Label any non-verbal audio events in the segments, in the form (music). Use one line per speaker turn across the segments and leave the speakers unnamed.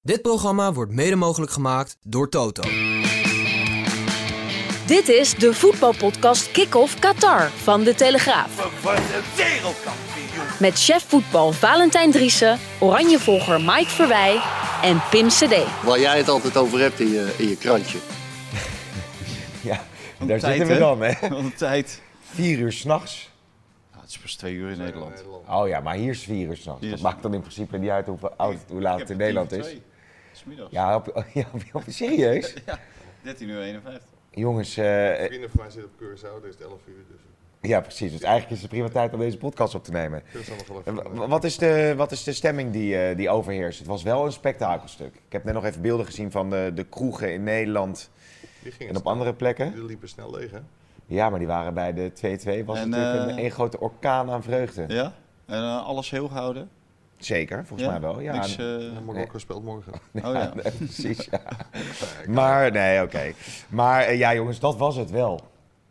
Dit programma wordt mede mogelijk gemaakt door Toto.
Dit is de voetbalpodcast Kick-Off Qatar van De Telegraaf.
Wordt een wereldkampioen.
Met chef voetbal Valentijn Driessen, Oranjevolger Mike Verwij en Pim CD.
Waar jij het altijd over hebt in je, in je krantje.
Ja,
Wat
daar
een tijd,
zitten we
hè?
dan, hè?
(laughs) Wat een tijd.
Vier uur s'nachts.
Nou, het is pas twee uur in Nederland.
Oh ja, maar hier is vier uur s'nachts.
Hier
Dat
is-
maakt dan in principe niet uit hoe, oud, Oh, hoe
Ik
laat het in
heb het
Nederland
tien voor
is.
twee. Het is middags.
Ja, op, (laughs) ja, op, op- serieus?
13 uur 51.
Jongens, eh,
Vrienden van mij zitten op Curaçao, dit is 11 uur, dus
ja precies. Dus eigenlijk is het prima tijd om deze podcast op te nemen.
dat is allemaal
Eh,
wel
wa-
even.
wa- Wat is de, wat is de stemming die, eh, die overheerst? Het was wel een spektakelstuk. Ik heb net nog even beelden gezien van de, de kroegen in Nederland
Die gingen
en op
snel.
andere plekken.
Die liepen snel leeg, hè?
Ja, maar die waren bij de 2-2. Was
En,
natuurlijk een,
eh,
één grote orkaan aan vreugde.
Ja? En eh, alles heel gehouden?
Zeker, volgens mij wel. Ja,
Niks, eh,
Ja, Marokko speelt morgen.
(laughs)
Oh ja.
Nee, precies, ja. Maar, nee, oké. Maar eh, ja, jongens, dat was het wel.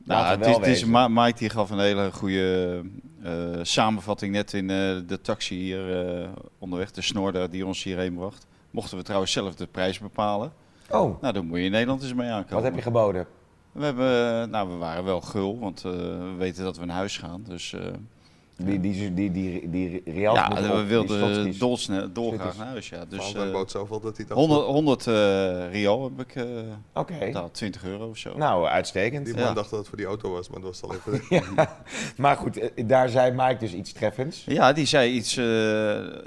Nou,
Laten
het
we
is,
wel
het is,
wezen.
Ma- Mike die gaf een hele goede eh, samenvatting net in eh, de taxi hier eh, onderweg. De snorder die ons hierheen bracht. Mochten we trouwens zelf de prijs bepalen.
Oh,
Nou, dan moet je in Nederland eens mee aankomen.
wat heb je geboden?
we, hebben, eh, nou, we waren wel gul, want eh, we weten dat we naar huis gaan. Dus eh,
Die, die, die, die, die Real
ja,
moet op,
we
die
wilden eh,
Schotskies.
dolsne- dolgraag
Schotskies.
naar huis. Ja. Dus,
Dus, Vlaanderen
eh,
bood zoveel dat hij dacht...
100, 100 eh, rial heb ik eh
Oké,
betaald, 20 euro of zo.
nou,
Die
uitstekend.
man
Ja.
dacht dat het voor die auto was, maar dat was het al
(laughs)
even...
Ja. Maar goed, eh, daar zei Mike dus iets treffends.
Ja, die zei iets, eh,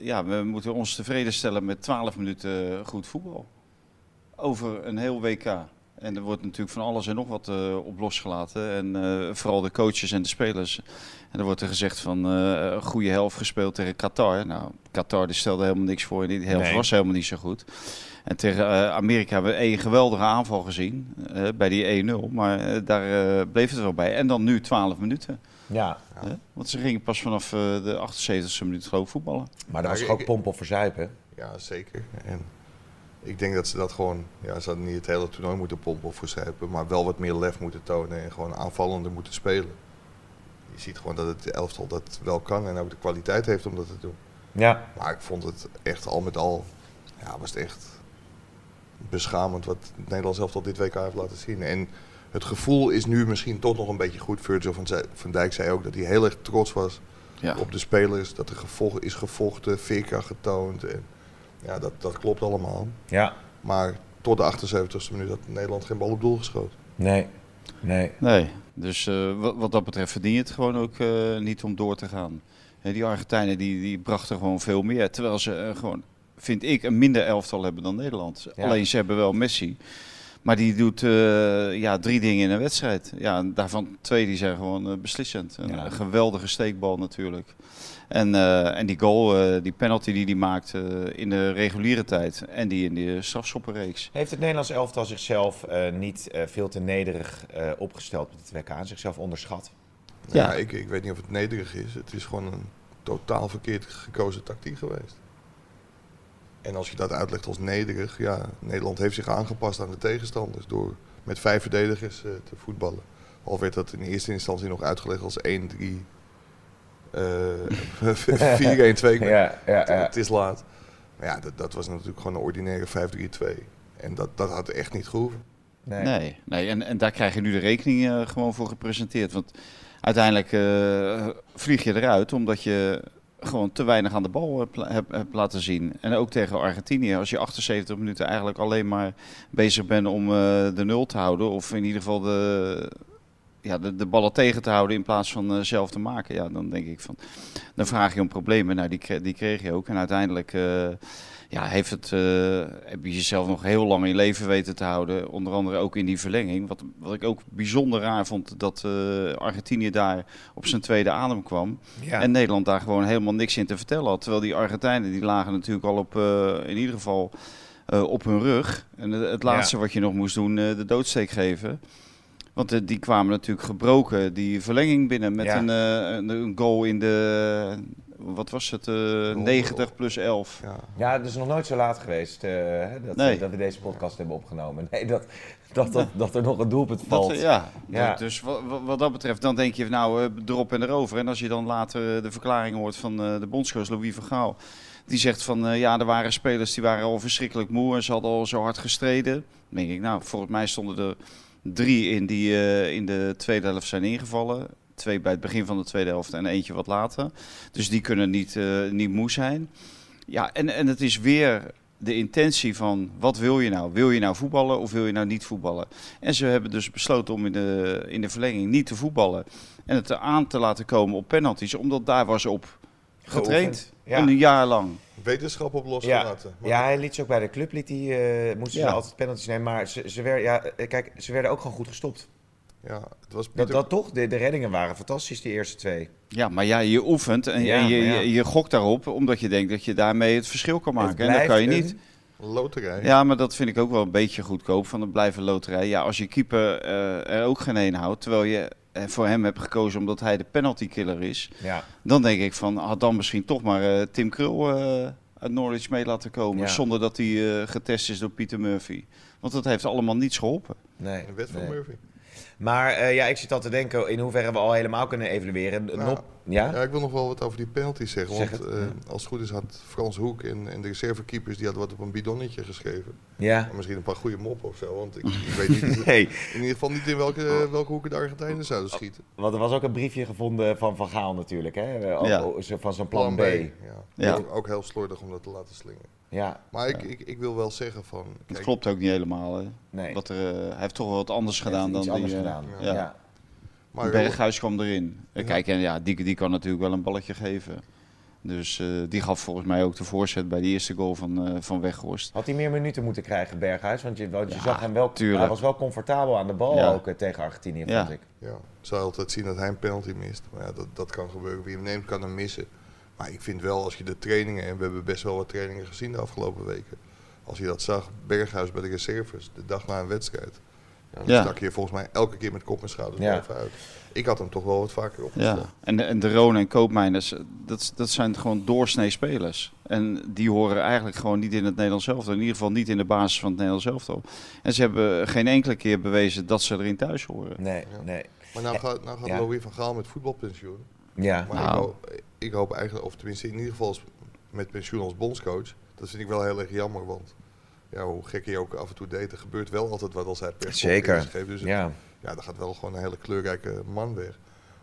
ja, we moeten ons tevreden stellen met 12 minuten goed voetbal. Over een heel WK. En er wordt natuurlijk van alles en nog wat eh, op losgelaten. En eh, vooral de coaches en de spelers. En er wordt er gezegd van eh, een goede helft gespeeld tegen Qatar. Nou, Qatar die stelde helemaal niks voor. Die helft
Nee.
was helemaal niet zo goed. En tegen eh, Amerika hebben we een geweldige aanval gezien. eh, bij die 1-0. Maar eh, daar eh, bleef het wel bij. En dan nu 12 minuten.
Ja,
Hè? Want ze gingen pas vanaf eh, de 78e minuut geloof ik voetballen.
maar dat
Nou, ik-
was toch ook
ik-
pomp of verzuipen?
Ja, zeker. En ik denk dat ze dat gewoon... Ja, ze hadden niet het hele toernooi moeten pompen of verzuipen, maar wel wat meer lef moeten tonen en gewoon aanvallender moeten spelen. Je ziet gewoon dat het elftal dat wel kan en ook de kwaliteit heeft om dat te doen.
Ja,
Maar ik vond het echt al met al, ja, was het echt beschamend wat het Nederlands elftal dit WK heeft laten zien. En het gevoel is nu misschien toch nog een beetje goed. Virgil van Zij- van Dijk zei ook dat hij heel erg trots was
Ja.
op de spelers. Dat er gevolg is gevochten, veerkracht getoond. En ja, dat, dat klopt allemaal.
ja,
Maar tot de 78e minuut had Nederland geen bal op doel geschoten.
nee, nee.
Nee, dus eh, wat, wat dat betreft verdien je het gewoon ook eh, niet om door te gaan. En die Argentijnen die, die brachten gewoon veel meer. Terwijl ze eh, gewoon, vind ik, een minder elftal hebben dan Nederland.
Ja.
Alleen ze hebben wel Messi. Maar die doet eh, ja, drie dingen in een wedstrijd. Ja, en daarvan twee die zijn gewoon eh, beslissend. Een,
Ja.
een geweldige steekbal natuurlijk. En, eh, en die goal, eh, die penalty die hij maakt eh, in de reguliere tijd. En die in de strafschoppenreeks.
Heeft het Nederlands elftal zichzelf eh, niet eh, veel te nederig eh, opgesteld met het WK en zichzelf onderschat?
Ja.
Nou Ja. ik, ik weet niet of het nederig is. Het is gewoon een totaal verkeerd gekozen tactiek geweest. En als je dat uitlegt als nederig, ja, Nederland heeft zich aangepast aan de tegenstanders door met vijf verdedigers eh, te voetballen. Al werd dat in eerste instantie nog uitgelegd als 1-3,
(laughs)
eh (laughs) 4-1-2. Ik
Ja, ja,
het, het is laat. Maar ja, dat, dat was natuurlijk gewoon een ordinaire 5-3-2. En dat, dat had echt niet gehoeven.
Nee, nee en, en daar krijg je nu de rekening eh, gewoon voor gepresenteerd. Want uiteindelijk eh, vlieg je eruit omdat je gewoon te weinig aan de bal hebt, la- hebt- hebt laten zien. En ook tegen Argentinië, als je 78 minuten eigenlijk alleen maar bezig bent om eh, de nul te houden. Of in ieder geval de, ja, de, de ballen tegen te houden in plaats van eh, zelf te maken. Ja, dan denk ik van, dan vraag je om problemen. Nou, die, kre- die kreeg je ook. En uiteindelijk... eh, ja, heeft het, eh, heb je jezelf nog heel lang in leven weten te houden. Onder andere ook in die verlenging. Wat, wat ik ook bijzonder raar vond, dat eh, Argentinië daar op zijn tweede adem kwam.
Ja.
En Nederland daar gewoon helemaal niks in te vertellen had. Terwijl die Argentijnen, die lagen natuurlijk al op, eh, in ieder geval eh, op hun rug. En het, het laatste wat je nog moest doen, eh, de doodsteek geven. Want eh, die kwamen natuurlijk gebroken, die verlenging binnen met
Ja.
een, eh, een, een goal in de, wat was het, eh, 90 plus 11.
Ja.
Ja, het is nog nooit zo laat geweest eh, hè, dat,
Nee.
dat we deze podcast hebben opgenomen. Nee, dat, dat, dat, dat er nog een doelpunt valt.
Dat, eh, ja.
Ja.
Dus- Dus wa- wa- wat, dat betreft, dan denk je nou eh, erop en erover. En als je dan later eh, de verklaring hoort van eh, de bondscoach Louis van Gaal. Die zegt van eh, ja, er waren spelers die waren al verschrikkelijk moe en ze hadden al zo hard gestreden. Dan denk ik, nou, volgens mij stonden er drie in die eh, in de tweede helft zijn ingevallen. Twee bij het begin van de tweede helft en eentje wat later. Dus die kunnen niet, eh, niet moe zijn. Ja, en, en het is weer de intentie van wat wil je nou? Wil je nou voetballen of wil je nou niet voetballen? En ze hebben dus besloten om in de, in de verlenging niet te voetballen. En het aan te laten komen op penalties, omdat daar was op getraind.
ja.
Een jaar lang.
Wetenschap op
Ja.
losgelaten. Maar
ja, hij liet ze ook bij de club, liet die, eh, moesten
eh, Ja.
ze altijd penalties nemen. Maar ze, ze, werden, ja, eh, kijk, ze werden ook gewoon goed gestopt.
ja, het was
Dat,
Pieter,
dat toch? De, de reddingen waren fantastisch, die eerste twee.
Ja, maar ja, je oefent en,
Ja,
en je,
maar ja.
je, je gokt daarop, omdat je denkt dat je daarmee het verschil kan
Het
maken. En dat kan je
blijft
niet.
een-
loterij.
Ja, maar dat vind ik ook wel een beetje goedkoop van het blijven loterij. Ja, als je keeper eh, er ook geen een houdt, terwijl je eh, voor hem hebt gekozen omdat hij de penalty killer is,
Ja.
dan denk ik van had dan misschien toch maar eh, Tim Krul eh, uit Norwich mee laten komen,
Ja.
zonder dat hij eh, getest is door Pieter Murphy. Want dat heeft allemaal niets geholpen.
Nee.
Een wet van
nee.
Murphy.
Maar eh, ja, ik zit al te denken in hoeverre we al helemaal kunnen evalueren. Nop, ja?
Ja, ik wil nog wel wat over die penalties zeggen. Want
Zeg het,
eh, als het goed is had Frans Hoek en, en de reservekeepers die hadden wat op een bidonnetje geschreven.
Ja.
En misschien een paar goede moppen of zo. Want ik, ik weet
(laughs)
niet,
Nee, Oh.
in ieder geval niet in welke, eh, welke hoeken de Argentijnen zouden schieten.
want er was ook een briefje gevonden van Van Gaal natuurlijk, hè? Ook-
Ja.
ook zo- Van zijn plan, B.
Ja.
Ja.
Ook, ook heel slordig om dat te laten slingen.
Ja,
Maar ik, ik, ik wil wel zeggen van...
Dat
kijk,
klopt ook niet helemaal. Hè.
nee.
Wat er, eh, hij heeft toch wel wat anders
Heeft
gedaan dan
iets
die,
anders
eh,
gedaan.
ja.
Ja.
maar
Berghuis kwam erin. Eh, Kijk, en ja, die, die kan natuurlijk wel een balletje geven. Dus eh, die gaf volgens mij ook de voorzet bij de eerste goal van, eh van Weghorst.
Had hij meer minuten moeten krijgen, Berghuis? Want je, want je
Ja,
zag hem wel...
tuurlijk.
Hij was wel comfortabel aan de bal
Ja.
ook eh, tegen Argentinië,
Ja.
vond ik.
Ja, ik zou altijd zien dat hij een penalty mist. Maar ja, dat, dat kan gebeuren. Wie hem neemt, kan hem missen. Maar ik vind wel, als je de trainingen, en we hebben best wel wat trainingen gezien de afgelopen weken. Als je dat zag, Berghuis bij de reserves, de dag na een wedstrijd. Ja, dan
Ja.
stak je volgens mij elke keer met kop en schouders
Ja.
bovenuit. Ik had hem toch wel wat vaker
Ja.
opgesteld.
En, en de Roon en Koopmeiners, eh, dat, dat zijn gewoon doorsnee spelers. En die horen eigenlijk gewoon niet in het Nederlands elftal. In ieder geval niet in de basis van het Nederlands elftal. En ze hebben geen enkele keer bewezen dat ze erin thuis horen.
Nee,
Ja.
nee.
Maar nou gaat, nou gaat
Ja.
Louis van Gaal met voetbalpensioen.
Ja.
Maar ik,
Nou.
hoop, eh, ik hoop eigenlijk, of tenminste in ieder geval als- met pensioen als bondscoach. Dat vind ik wel heel erg jammer, want ja, hoe gek je ook af en toe deed, er gebeurt wel altijd wat als hij
Zeker.
persconferentie geeft. Dus het-
Ja.
ja, daar gaat wel gewoon een hele kleurrijke man weg.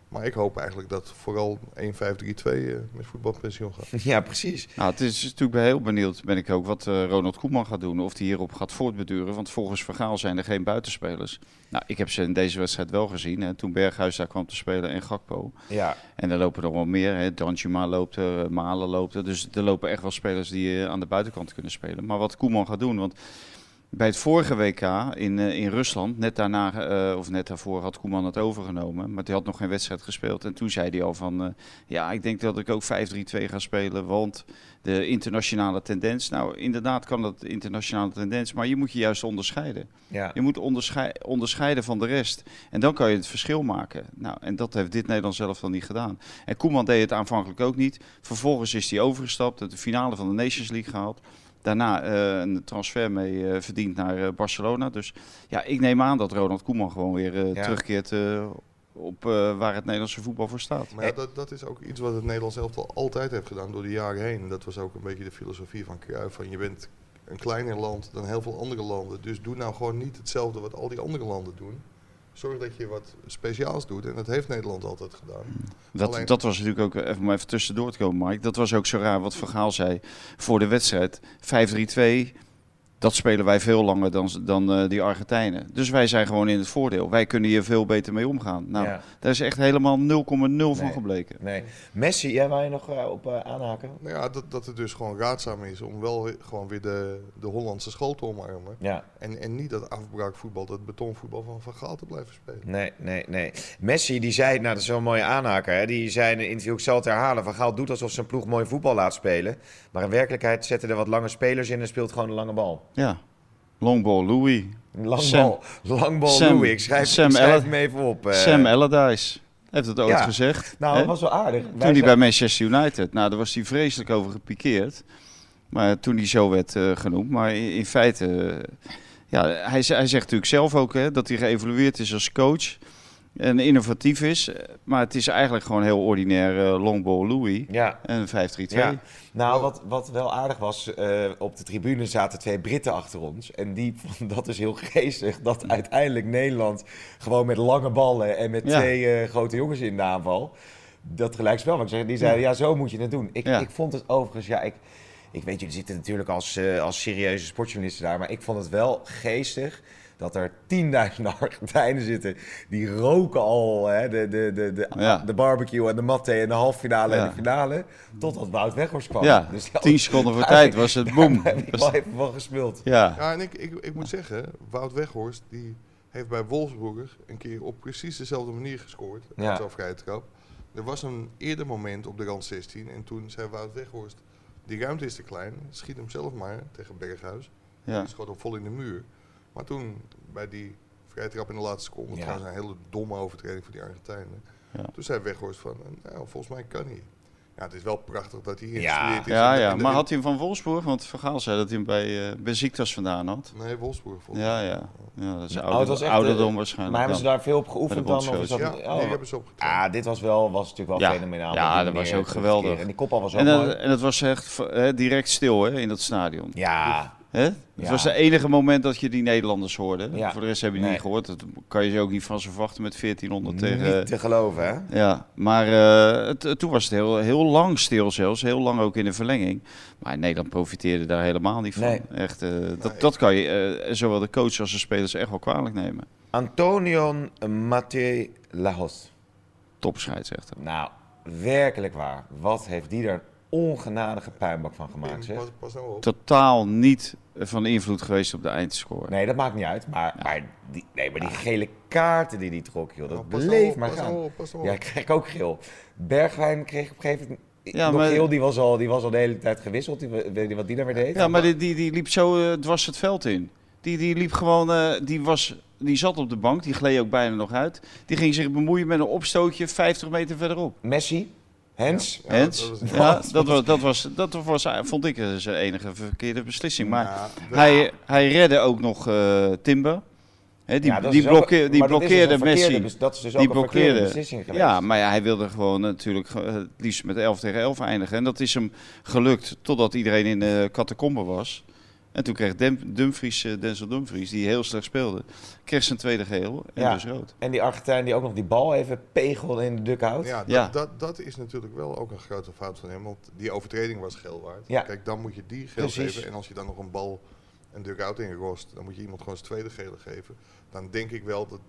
Maar ik hoop eigenlijk dat vooral 1-5-3-2 eh, met voetbalpensioen gaat.
(laughs) ja, precies.
Nou, het is natuurlijk ben heel benieuwd, ben ik ook, wat eh, Ronald Koeman gaat doen. Of hij hierop gaat voortbeduren. Want volgens Vergaal zijn er geen buitenspelers. Nou, ik heb ze in deze wedstrijd wel gezien. Hè, toen Berghuis daar kwam te spelen en Gakpo.
Ja.
En er lopen nog wel meer. Hè. Danjuma loopt er, eh, Malen loopt er. Dus er lopen echt wel spelers die eh, aan de buitenkant kunnen spelen. Maar wat Koeman gaat doen, want bij het vorige WK in, eh, in Rusland, net daarna eh, of net daarvoor had Koeman het overgenomen. Maar hij had nog geen wedstrijd gespeeld. En toen zei hij al van, eh, ja, ik denk dat ik ook 5-3-2 ga spelen, want de internationale tendens. Nou, inderdaad kan dat internationale tendens, maar je moet je juist onderscheiden.
Ja.
Je moet onderschei- onderscheiden van de rest. En dan kan je het verschil maken. Nou, en dat heeft dit Nederland zelf dan niet gedaan. En Koeman deed het aanvankelijk ook niet. Vervolgens is hij overgestapt, heeft de finale van de Nations League gehaald. Daarna eh, een transfer mee eh, verdiend naar eh, Barcelona. Dus ja, ik neem aan dat Ronald Koeman gewoon weer eh,
Ja.
terugkeert eh, op eh, waar het Nederlandse voetbal voor staat.
Maar ja, dat, dat is ook iets wat het Nederlands elftal altijd heeft gedaan door de jaren heen. En dat was ook een beetje de filosofie van Cruijff. Van je bent een kleiner land dan heel veel andere landen. Dus doe nou gewoon niet hetzelfde wat al die andere landen doen. Zorg dat je wat speciaals doet. En dat heeft Nederland altijd gedaan.
Dat,
Alleen-
dat was natuurlijk ook, eh, even, om even tussendoor te komen, Mike. Dat was ook zo raar wat Vergaal zei voor de wedstrijd. 5-3-2, dat spelen wij veel langer dan, ze- dan eh, die Argentijnen. Dus wij zijn gewoon in het voordeel. Wij kunnen hier veel beter mee omgaan. Nou,
Ja.
daar is echt helemaal 0,0 van
Nee.
gebleken.
Nee. Messi, jij wou je nog eh, op eh, aanhaken?
Nou ja, dat, dat het dus gewoon raadzaam is om wel weer- gewoon weer de, de Hollandse school te omarmen.
Ja.
En, en niet dat afbraakvoetbal, dat betonvoetbal van Van Gaal te blijven spelen.
Nee, nee, nee. Messi, die zei, nou dat is wel een mooie aanhaker, hè? die zei in een interview, ik zal het herhalen, Van Gaal doet alsof zijn ploeg mooi voetbal laat spelen. Maar in werkelijkheid zetten er wat lange spelers in en speelt gewoon een lange bal.
Ja, longball Louis,
Langbal, langbal
Sam-
Louis. Ik schrijf,
Sam
ik schrijf
Allen-
hem even op. eh.
Sam Allardyce. Heeft het ooit
ja.
gezegd.
Nou,
hè?
dat was wel aardig.
Toen
Wij
hij bij
zijn-
Manchester United. Nou, daar was hij vreselijk over gepikeerd. Maar toen hij zo werd eh, genoemd. Maar in, in feite. eh, ja, hij, z- hij zegt natuurlijk zelf ook hè, dat hij geëvalueerd is als coach. en innovatief is. Maar het is eigenlijk gewoon heel ordinair eh, longball Louis
Ja.
en 5-3-2.
Ja. Nou, wat, wat wel aardig was, eh, op de tribune zaten twee Britten achter ons. En die (laughs) vonden dat is heel geestig, dat uiteindelijk Nederland gewoon met lange ballen en met
Ja.
twee eh, grote jongens in de aanval, dat gelijkspel. Want die zeiden, ja, zo moet je het doen. Ik,
Ja.
ik vond het overigens, ja, ik, ik weet, jullie zitten natuurlijk als, eh, als serieuze sportjournalisten daar, maar ik vond het wel geestig. Dat er 10.000 Argentijnen zitten. Die roken al hè, de, de, de, de,
Ja.
de barbecue en de matte en de halve finale en
Ja.
de finale. Totdat Wout Weghorst kwam. (laughs)
Ja, tien seconden voor tijd was het boem.
Daar heb ik wel even van gespeeld.
Ja.
Ja, en ik, ik, ik moet zeggen, Wout Weghorst die heeft bij Wolfsburger een keer op precies dezelfde manier gescoord.
Ja.
Uit zo'n vrije trap. Er was een eerder moment op de rand 16 en toen zei Wout Weghorst, die ruimte is te klein, schiet hem zelf maar tegen Berghuis.
Ja.
Die schoot hem vol in de muur. Maar toen, bij die vrije trap in de laatste seconde,
Ja.
trouwens een hele domme overtreding voor die Argentijnen.
Ja.
Toen zei Weghorst van, nou, volgens mij kan hij. Ja, het is wel prachtig dat hij
Ja.
geïnstrueerd is.
Ja,
en-
ja,
en-
maar had hij hem van Wolfsburg? Want Vergaal zei dat hij hem bij, eh bij ziektes vandaan had.
Nee, Wolfsburg volgens mij.
Ja, ja. ja dat is
Nou,
ouder,
het was echt,
ouderdom
eh,
waarschijnlijk.
Maar hebben ze
dan.
daar veel op geoefend
Bij de
dan? Of is dat,
bondscoach.
Ja,
oh.
nee, ik heb ze opgetraind.
ah, dit was wel, was natuurlijk wel
Ja.
fenomenaal.
Ja,
op die
dat was
manier
ook
te verkeren.
geweldig.
En die kopbal was ook
En dat,
mooi.
en dat was echt v- hè, direct stil hè, in dat stadion.
Ja,
Hè? Het
Ja.
was het enige moment dat je die Nederlanders hoorde.
Ja.
Voor de rest heb je die
Nee.
niet gehoord. Dat kan je ze ook niet van ze verwachten met 1400 tegen...
niet te geloven hè?
Ja, maar eh, het- het- toen was het heel, heel lang stil zelfs. Heel lang ook in de verlenging. Maar Nederland profiteerde daar helemaal niet van.
Nee.
Echt, eh, dat, dat kan je eh, zowel de coach als de spelers echt wel kwalijk nemen.
Antonion Mathieu Lahos.
Topscheidsrechter.
Nou, werkelijk waar. Wat heeft die er een ongenadige puinbak van gemaakt
Pim,
zeg?
Pas, pas nou op.
Totaal niet van invloed geweest op de eindscore.
Nee, dat maakt niet uit. Maar, maar, die, nee, maar die gele kaarten die die trok, joh, dat
Ah. Nou, pas nou
bleef
op,
maar
pas
gaan.
nou op, pas nou
ja,
op.
ik kreeg ook geel. Bergwijn kreeg op een gegeven moment
Ja,
nog
maar-
geel. Die was, al, die was al de hele tijd gewisseld. Die, weet je wat die nou weer deed?
Ja, maar die, die, die liep zo eh, dwars het veld in. Die, die liep gewoon, eh, die, was, die zat op de bank, die gleed ook bijna nog uit. Die ging zich bemoeien met een opstootje 50 meter verderop.
Messi, Hens.
Ja,
Hens?
dat is-
Ja, dat was, dat was, dat was, eh, vond ik eh, zijn enige verkeerde beslissing. Maar
Ja, dat-
hij, hij redde ook nog eh, Timber. Hè, die
Ja, dat
die,
is dus ook-
blokke- die
maar dat is dus een
blokkeerde
verkeerde
Messi.
bes- dat is dus ook
die
een verkeerde beslissing geweest.
Ja, maar ja, hij wilde gewoon natuurlijk eh, het liefst met 11 tegen 11 eindigen. En dat is hem gelukt totdat iedereen in de catacombe was. En toen kreeg Dem- Dumfries, eh, Denzel Dumfries, die heel slecht speelde, kreeg zijn tweede geel en
Ja.
dus rood.
En die Argentijn die ook nog die bal even pegelde in de dugout.
Ja, dat,
Ja.
Dat, dat is natuurlijk wel ook een grote fout van hem, want die overtreding was geel waard.
Ja.
Kijk, dan moet je die geel
Precies.
geven en als je dan nog een bal een dugout inrost, dan moet je iemand gewoon zijn tweede gele geven. Dan denk ik wel dat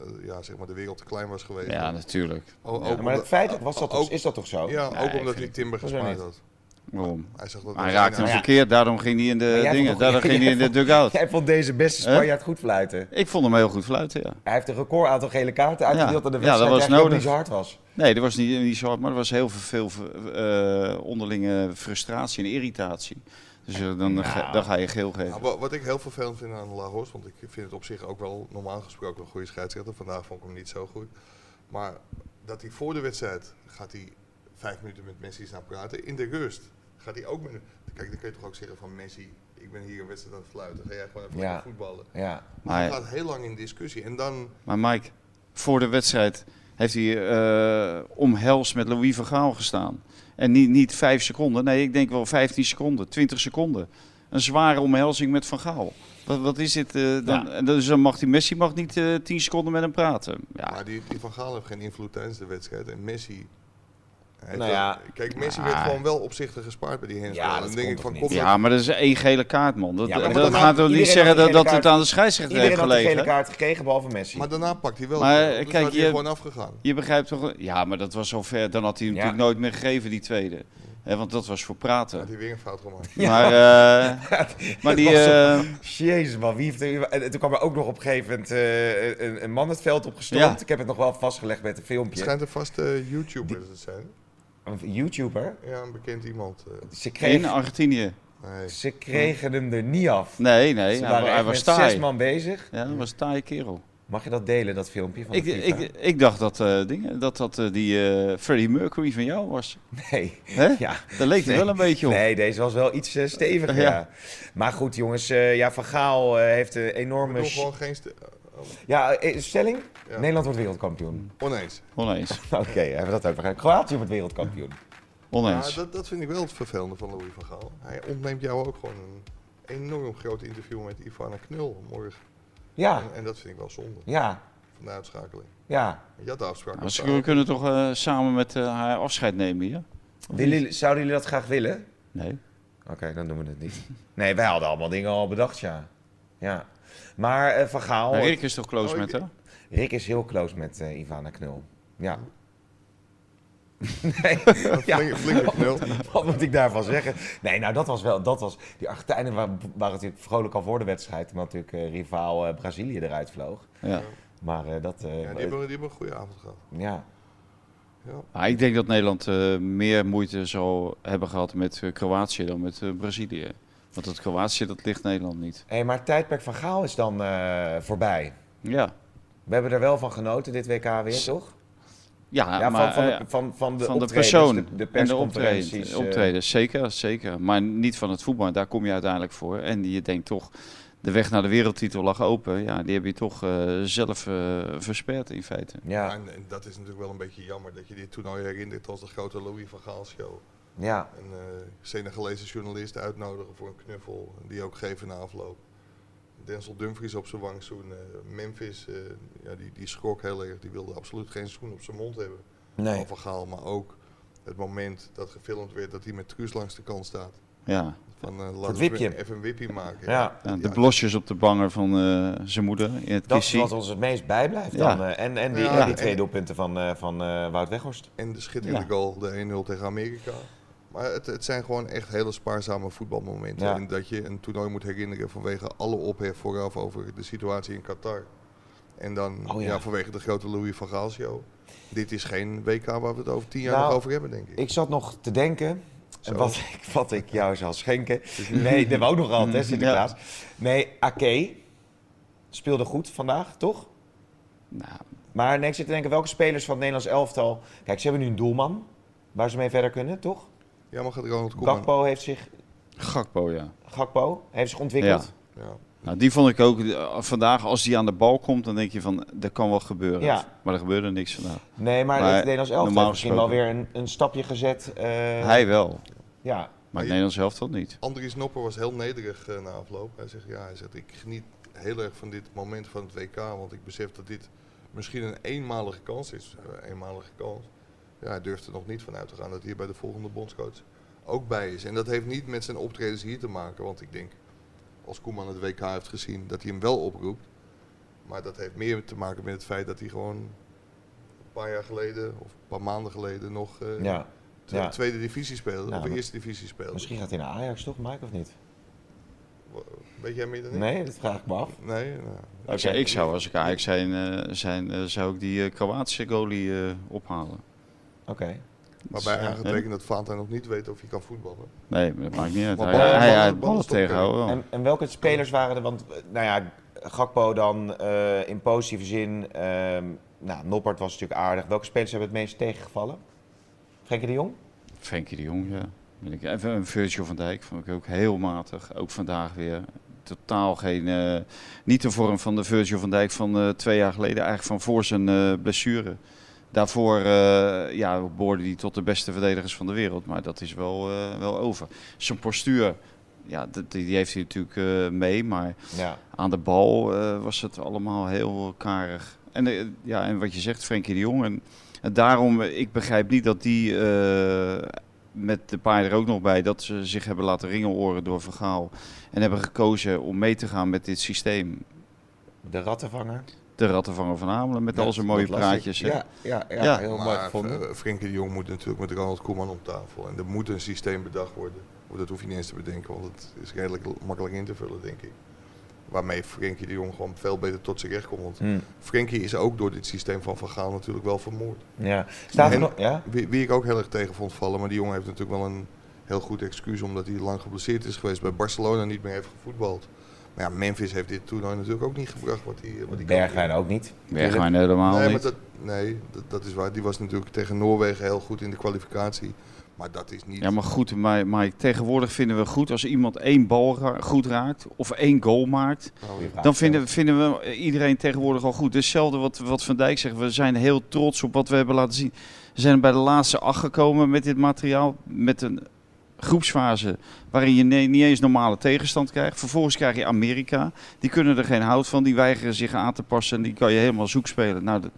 eh, ja, zeg maar de wereld te klein was geweest.
Ja, natuurlijk.
O- ook
maar
omdat-
het feit was dat,
ook-
is dat toch zo?
ja,
Nee,
ook omdat
vind
hij Timber
dat is wel
gespaard
niet.
had.
Waarom?
Hij, zag dat
Hij
dat
raakte hem
hij-
verkeerd, daarom ging hij in
nou Maar
de
jij
dingen.
vond toch-
Daarom ging hij in de
jij (laughs)
dugout.
Jij vond deze beste
Huh?
Spanjaard goed fluiten.
Ik vond hem heel goed fluiten, ja.
Hij heeft een record aantal gele kaarten uitgedeeld
Ja.
aan de
Ja, dat
wedstrijd
was
die eigenlijk
nodig.
niet zo hard was.
Nee, er was niet, niet zo hard, maar er was heel veel eh, onderlinge frustratie en irritatie. Dus eh, dan, ge- dan ga je geel
Nou,
geven.
wa- wat ik heel vervelend vind aan Lagos, want ik vind het op zich ook wel normaal gesproken een goede scheidsrechter. Vandaag vond ik hem niet zo goed. Maar dat hij voor de wedstrijd gaat hij vijf minuten met Messi staan praten. In de rust gaat hij ook met. Kijk, dan kun je toch ook zeggen van Messi, ik ben hier een wedstrijd aan het fluiten. Ga jij gewoon even
Ja.
lekker voetballen.
Ja.
Maar,
Hij gaat heel lang in discussie. En dan,
Maar Mike, voor de wedstrijd heeft hij eh omhelst met Louis van Gaal gestaan. En niet, niet vijf seconden, nee, ik denk wel 15 seconden, 20 seconden. Een zware omhelzing met Van Gaal. Wat, wat is dit? eh, dan, en Dus dan mag die Messi mag niet eh 10 seconden met hem praten. Ja,
maar die, die Van Gaal heeft geen invloed tijdens de wedstrijd. En Messi. hij heeft
Nou
wel-
ja.
kijk, Messi werd
Maar-
gewoon wel opzichtig gespaard bij die handsbal.
Ja,
En
dat
dan denk
kon
ik
toch
van
niet?
kom
ja maar dat is één gele kaart, man. Dat,
Ja, maar
dat,
dat
gaat toch
iedereen
niet
had
zeggen
die
dat,
gele
dat het
kaart-
aan de scheidsrechter
Iedereen had
heeft
een gele
gelegen.
kaart gekregen, behalve Messi. (laughs)
Maar daarna pakt hij wel.
Maar,
geel. dus
kijk,
had hij
je-
gewoon afgegaan.
Je begrijpt toch? Ja, maar dat was al ver. Dan had hij hem
Ja.
natuurlijk nooit meer gegeven, die tweede. Hè, want dat was voor praten.
Had hij weer een fout gemaakt.
Maar,
(laughs)
eh, maar die.
was
eh,
Jezus man, wie heeft er... En toen kwam er ook nog op een gegeven moment eh, een, een man het veld opgestormd.
Ja.
Ik heb het nog wel vastgelegd met een
Het
filmpje.
schijnt een vaste YouTuber te zijn.
Een YouTuber.
Ja, een bekend iemand. eh.
Ze,
in
kreeg,
Argentinië.
nee.
ze kregen hem er niet af.
Nee, nee.
Ze
Hij,
waren
hij
echt
was
met zes
taai.
man bezig.
Ja, hij was een taaie kerel.
Mag je dat delen, dat filmpje van
Ik,
de FIFA?
ik, ik dacht dat eh, dingen, dat, dat eh, die eh, Freddie Mercury van jou was.
Nee. (laughs)
Hè? (laughs)
Ja.
Daar leek hij wel een beetje op.
Nee, deze was wel iets eh, steviger, ja.
Ja.
Maar goed, jongens. eh, ja, Van Gaal eh, heeft een enorme...
Nog
sh-
gewoon geen. st- eh,
Ja, eh, stelling?
Ja.
Nederland wordt
Mm.
wereldkampioen.
Oneens.
Oneens.
(laughs) Oké, hebben we dat ook. Kroatië wordt wereldkampioen.
Oneens.
Ja, dat, dat vind ik wel het vervelende van Louis van Gaal. Hij ontneemt jou ook gewoon een enorm groot interview met Ivana Knul morgen.
Ja,
En, en dat vind ik wel zonde
ja,
van de uitschakeling.
ja.
Je had de afspraak.
Nou, ze-
met
we kunnen toch eh, samen met eh, haar afscheid nemen hier?
Willen jullie- zouden jullie dat graag willen?
Nee.
Oké, dan doen we het niet. (laughs) Nee, wij hadden allemaal dingen al bedacht, ja. Ja. Maar eh, Van Gaal...
Maar Rick is toch close
Oh,
met
ik-
haar?
Rick is heel close met eh, Ivana Knul. Ja. (laughs) nee,
elkaar. Flinke,
(laughs)
flinke Knul.
wat moet ik daarvan zeggen? Nee, nou dat was wel, dat was, die Argentijnen wa- waren, natuurlijk vrolijk al voor de wedstrijd, omdat natuurlijk eh, rivaal eh, Brazilië eruit vloog.
Ja.
Maar eh, dat, eh,
Ja, die, hebben, die hebben een goede avond gehad.
ja.
Ja.
Maar ik denk dat Nederland eh, meer moeite zal hebben gehad met eh, Kroatië dan met eh, Brazilië. Want dat Kroatië, dat ligt Nederland niet.
Hey, maar het tijdperk van Gaal is dan eh, voorbij.
Ja,
We hebben er wel van genoten dit WK weer, toch?
ja,
Ja,
maar
van, van,
eh,
de, van, van de
van de
optredens,
persoon
de, de
en de optredens.
persconferenties. eh,
optredens, Zeker, zeker. Maar niet van het voetbal, daar kom je uiteindelijk voor. En je denkt toch, de weg naar de wereldtitel lag open. Ja, die heb je toch eh, zelf eh, versperd in feite.
Ja,
ja,
En, en dat is natuurlijk wel een beetje jammer dat je dit toernooi herinnert als de grote Louis van Gaal show.
ja,
Een eh Senegalese journalist uitnodigen voor een knuffel, die ook geven na afloop. Denzel Dumfries op zijn wang zoenen. Memphis, eh, ja, die, die schrok heel erg. Die wilde absoluut geen zoen op zijn mond hebben.
nee.
Van Van Gaal, maar ook het moment dat gefilmd werd dat hij met Truus langs de kant staat.
Ja,
Van, eh laten
wipje.
we even een wippie maken.
Ja,
Ja, de blosjes op de banger van eh, zijn moeder in het
dat is
kissie.
wat ons het meest bijblijft
Ja.
dan. eh, en, en die,
Ja,
en die twee
en-
doelpunten van, eh, van eh, Wout Weghorst.
En de schitterende
Ja.
goal, de 1-0 tegen Amerika. Maar het, het zijn gewoon echt hele spaarzame voetbalmomenten.
Ja.
En dat je een toernooi moet herinneren vanwege alle ophef vooraf over de situatie in Qatar. En dan
Oh ja.
ja. vanwege de grote Louis van Gaal show. Dit is geen WK waar we het over tien jaar
Nou,
nog over hebben, denk ik.
Ik zat nog te denken.
Zo.
Wat ik, wat ik jou zal schenken. Nee, dat hebben we ook nog
(laughs)
gehad, hè, Sinterklaas. Nee, Ake speelde goed vandaag, toch?
Nou,
Maar nee, ik zit te denken, welke spelers van het Nederlands elftal... Kijk, ze hebben nu een doelman, waar ze mee verder kunnen, toch?
Ja, maar gaat Ronald Koeman.
Gakpo heeft zich,
Gakpo, ja.
Gakpo heeft zich ontwikkeld.
Ja.
Nou, die vond ik ook eh, vandaag, als die aan de bal komt, dan denk je van, dat kan wel gebeuren.
Ja.
Maar er gebeurde niks vandaag.
Nee, maar,
Maar
het Nederlands elftal
normaal
heeft misschien wel weer
gesproken-
een, een stapje gezet. eh,
Hij wel,
Ja,
Maar
maar
je-
het Nederlands elftal niet.
Andries Nopper was heel nederig eh, na afloop. Hij zegt, ja, hij zegt, ik geniet heel erg van dit moment van het WK, want ik besef dat dit misschien een eenmalige kans is. Een eenmalige kans. Ja, hij durft er nog niet van uit te gaan dat hij bij de volgende bondscoach ook bij is. En dat heeft niet met zijn optredens hier te maken, want ik denk, als Koeman het WK heeft gezien, dat hij hem wel oproept. Maar dat heeft meer te maken met het feit dat hij gewoon een paar jaar geleden, of een paar maanden geleden, nog eh,
ja.
te-
ja.
tweede divisie speelde,
Ja,
of
maar-
eerste divisie speelde.
Misschien gaat hij naar Ajax toch, Mike, of niet?
Weet jij meer dan ik?
Nee, dat vraag ik me af.
Nee, nou,
Ik zou- Ik zou, als ik Ajax zijn, eh, zijn eh, zou ik die eh, Kroatische goalie eh, ophalen.
Oké.
waarbij
Ja,
aangetekend dat Fanta nog niet weet of hij kan voetballen.
Nee, maar dat maakt niet uit.
Maar
Hij,
ballen-
hij,
ballen-
hij
ballen
ballen
stoppen.
tegenhouden wel.
En, en welke spelers waren er? Want, eh, nou ja, Gakpo dan eh, in positieve zin. ehm, nou, Noppert was natuurlijk aardig. Welke spelers hebben het meest tegengevallen? Frenkie de Jong?
Frenkie de Jong, ja. Ben ik even een Virgil van Dijk vond ik ook heel matig. Ook vandaag weer. Totaal geen. eh, niet de vorm van de Virgil van Dijk van eh, twee jaar geleden. Eigenlijk van voor zijn eh, blessure. Daarvoor eh ja, behoorde hij tot de beste verdedigers van de wereld. Maar dat is wel, eh, wel over. Zijn postuur. Ja, dat- die die heeft hij natuurlijk eh, mee. Maar
Ja.
aan de bal eh, was het allemaal heel karig. En, eh, ja, en wat je zegt, Frenkie de Jong. En, en daarom, eh, ik begrijp niet dat die eh, met de paarden er ook nog bij, dat ze zich hebben laten ringeloren door Vergaal. En hebben gekozen om mee te gaan met dit systeem.
De rattenvanger.
De rattenvanger van Hamelen met al zijn mooie
Dat las ik.
praatjes. hè.
Ja, ja, ja,
Ja.
heel mooi
Maar
gevonden.
eh, Frenkie de Jong moet natuurlijk met Ronald Koeman om tafel. En er moet een systeem bedacht worden. Maar Dat hoef je niet eens te bedenken, want het is redelijk l- makkelijk in te vullen, denk ik. Waarmee Frenkie de Jong gewoon veel beter tot zijn recht komt. Want
Hm,
Frenkie is ook door dit systeem van Van Gaal natuurlijk wel vermoord.
ja. Staat er
En-
nog... Ja?
Wie, wie ik ook heel erg tegen vond vallen, maar die jongen heeft natuurlijk wel een heel goed excuus omdat hij lang geblesseerd is geweest. Bij Barcelona niet meer heeft gevoetbald. Maar ja, Memphis heeft dit toernooi natuurlijk ook niet gebracht wat hij wat hij Oh, kan.
Bergwijn ook niet.
Bergwijn helemaal
Nee, maar
niet.
dat, nee dat, dat is waar. Die was natuurlijk tegen Noorwegen heel goed in de kwalificatie. Maar dat is niet...
Ja, maar goed, maar, maar tegenwoordig vinden we goed als iemand één bal ra- goed raakt of één goal maakt.
Nou,
Goeie vraag.
Dan vinden, we- vinden we iedereen tegenwoordig al goed. Hetzelfde wat, wat Van Dijk zegt. We zijn heel trots op wat we hebben laten zien. We zijn bij de laatste acht gekomen met dit materiaal. Met een groepsfase waarin je ne- niet eens normale tegenstand krijgt. Vervolgens krijg je Amerika. Die kunnen er geen hout van. Die weigeren zich aan te passen. En die kan je helemaal zoek spelen. Nou, dat,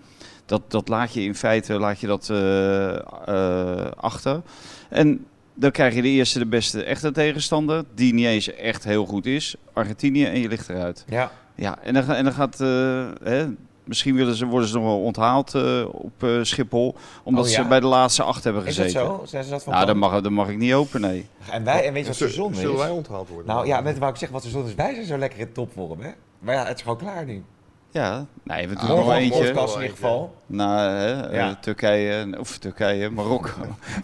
dat, dat laat je in feite laat je dat, eh, eh, achter. En dan krijg je de eerste, de beste echte tegenstander. Die niet eens echt heel goed is. Argentinië. En je ligt eruit.
Ja,
Ja, en dan, ga- en dan gaat. eh, hè, misschien willen ze, worden ze nog wel onthaald eh, op eh, Schiphol. Omdat
Oh, ja?
ze bij de laatste acht hebben
is
gezeten.
dat zo? Zijn ze dat van
Nou, dat
plan?
mag, dat mag ik niet hopen, nee.
En wij, en weet je wat zo
zullen-
zonde
Zullen
is?
wij onthaald worden?
Nou ja, net wou ik zeggen, wat zo zonde is, wij zijn zo lekker in topvorm, hè? Maar ja, het is gewoon klaar nu.
Ja, nee, we doen
Ah,
er nog
Morgen een
morgen
eentje.
wel
podcast in ieder
eentje.
geval.
Naar hè, eh,
Ja.
Turkije, of Turkije,
(laughs)
Marokko.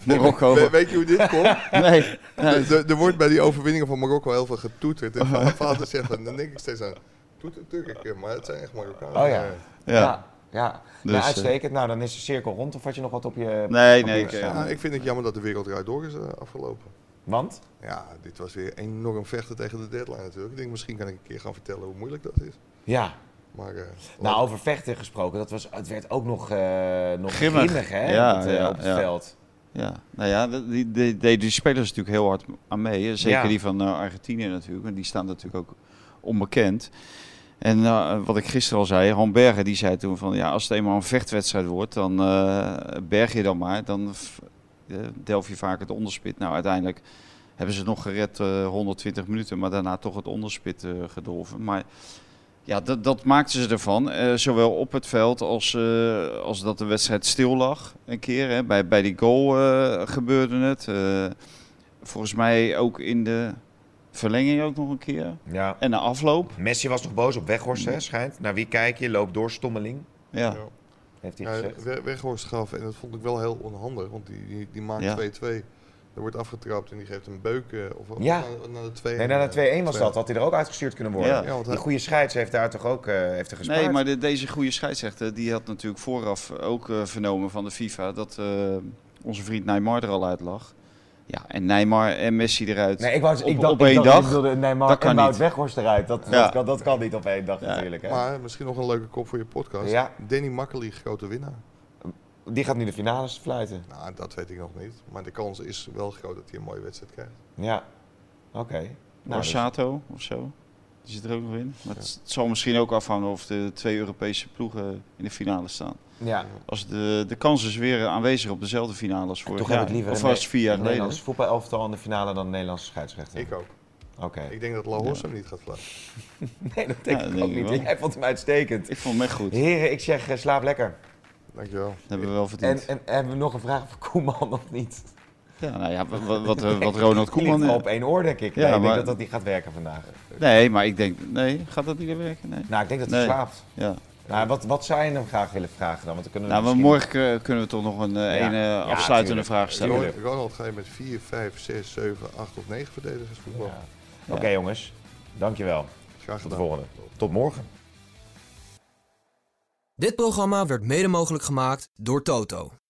Nee,
Marokko.
we- weet je hoe dit komt?
Nee, nee.
Er- Er wordt bij die overwinningen van Marokko heel veel getoeterd. En
(laughs)
mijn vader zegt, dan dan denk ik steeds aan... Toeter Turken, maar het zijn echt Marokkanen.
Oh ja.
Ja.
Ja,
Dus,
nou,
eh,
uitstekend. Nou, dan is de cirkel rond. Of had je nog wat op je...
Nee, nee,
papier
ik,
staan?
Ja, Nou, ik vind het jammer dat de wereld eruit door is eh, afgelopen.
Want?
Ja, dit was weer enorm vechten tegen de deadline natuurlijk. Ik denk, misschien kan ik een keer gaan vertellen hoe moeilijk dat is.
Ja.
Maar, eh,
Nou, over vechten gesproken. Dat was, het werd ook nog, eh nog
Grimmig.
grimmig, hè?
Ja,
op het, eh,
ja,
op het
ja.
veld.
Ja, nou ja, die, die, die- die spelers natuurlijk heel hard aan mee. hè. Zeker
Ja.
die van eh, Argentinië natuurlijk. En die staan natuurlijk ook onbekend. En eh, wat ik gisteren al zei, Hamberger die zei toen van... Ja, als het eenmaal een vechtwedstrijd wordt, dan eh, berg je dan maar. Dan f- eh, delf je vaak het onderspit. Nou, uiteindelijk hebben ze het nog gered eh, 120 minuten. Maar daarna toch het onderspit eh, gedolven. Maar ja, dat, dat maakten ze ervan. eh, zowel op het veld als, eh, als dat de wedstrijd stil lag. Een keer. Hè. Bij, bij die goal eh, gebeurde het. Eh, volgens mij ook in de verlenging ook nog een keer.
Ja.
En de afloop.
Messi was nog boos op Weghorst, hè, schijnt. Naar wie kijk je? Loop door, stommeling,
Ja.
heeft hij
ja,
gezegd.
We- Weghorst gaf, en dat vond ik wel heel onhandig, want die, die, die maakt
Ja.
2-2. Er wordt afgetrapt en die geeft een beuk. eh, of of
Ja.
naar, naar de 2
Nee, na de 2-1 was dat. Had hij er ook uitgestuurd kunnen worden.
Ja.
Ja, want hij-
Die goede scheids heeft daar toch ook eh heeft er gespaard.
Nee, maar de- deze goede scheidsrechter die had natuurlijk vooraf ook eh, vernomen van de FIFA dat eh, onze vriend Neymar er al uit lag. Ja, en Neymar en Messi eruit.
Nee, ik, wou,
op,
ik dacht,
op één
ik dacht,
dag.
ik bedoelde Neymar
dat kan
en Wout
niet.
Weghorst eruit. Dat,
Ja.
dat, kan, dat kan niet op één dag
Ja.
natuurlijk. Hè.
Maar misschien nog een leuke kop voor je podcast.
Ja.
Danny Makkely, grote winnaar.
Die gaat nu de finales fluiten.
Nou, dat weet ik nog niet. Maar de kans is wel groot dat hij een mooie wedstrijd krijgt.
Ja, oké. Nou, dus-
Borsato of zo. Die zit er ook nog in. Maar het, het zal misschien ook afhangen of de twee Europese ploegen in de finale staan.
ja.
Als de, de kans is weer aanwezig op dezelfde finale als vorig
Toch
jaar.
heb ik liever
of
een,
als vier jaar
een
geleden.
Nederlands voetbalelftal in de finale dan een Nederlandse scheidsrechter.
Ik ook.
Oké.
Ik denk dat Lahos hem niet gaat vlak.
Nee, dat denk
Ja,
ik
denk
ook
ik
niet.
wel.
Jij vond hem uitstekend.
Ik vond hem echt goed. Dat
Heren, ik zeg eh, slaap lekker.
Dankjewel.
hebben we wel verdiend.
En, en hebben we nog een vraag voor Koeman of niet?
ja, nou ja, wa- wa- wat, eh, wat Ronald
Die ligt
Koeman...
al op één oor, denk ik.
Ja,
nee, ik
maar-
denk dat dat niet gaat werken vandaag.
Nee, maar ik denk... Nee, gaat dat niet werken? Nee.
Nou, ik denk dat hij
Nee.
slaapt.
Ja.
Nou, wat, wat zou je hem graag willen vragen dan? Want dan kunnen we
Nou, maar
misschien-
morgen kun- kunnen we toch nog een eh,
Ja.
ene
Ja,
afsluitende
tuurlijk.
vraag stellen.
Tuurlijk.
Ronald, Ronald, ga je met 4, 5, 6, 7, 8 of 9 verdedigers voetbal?
Ja. Oké, jongens. Dankjewel.
Graag
Tot
gedaan.
de volgende. Tot morgen.
Dit programma werd mede mogelijk gemaakt door Toto.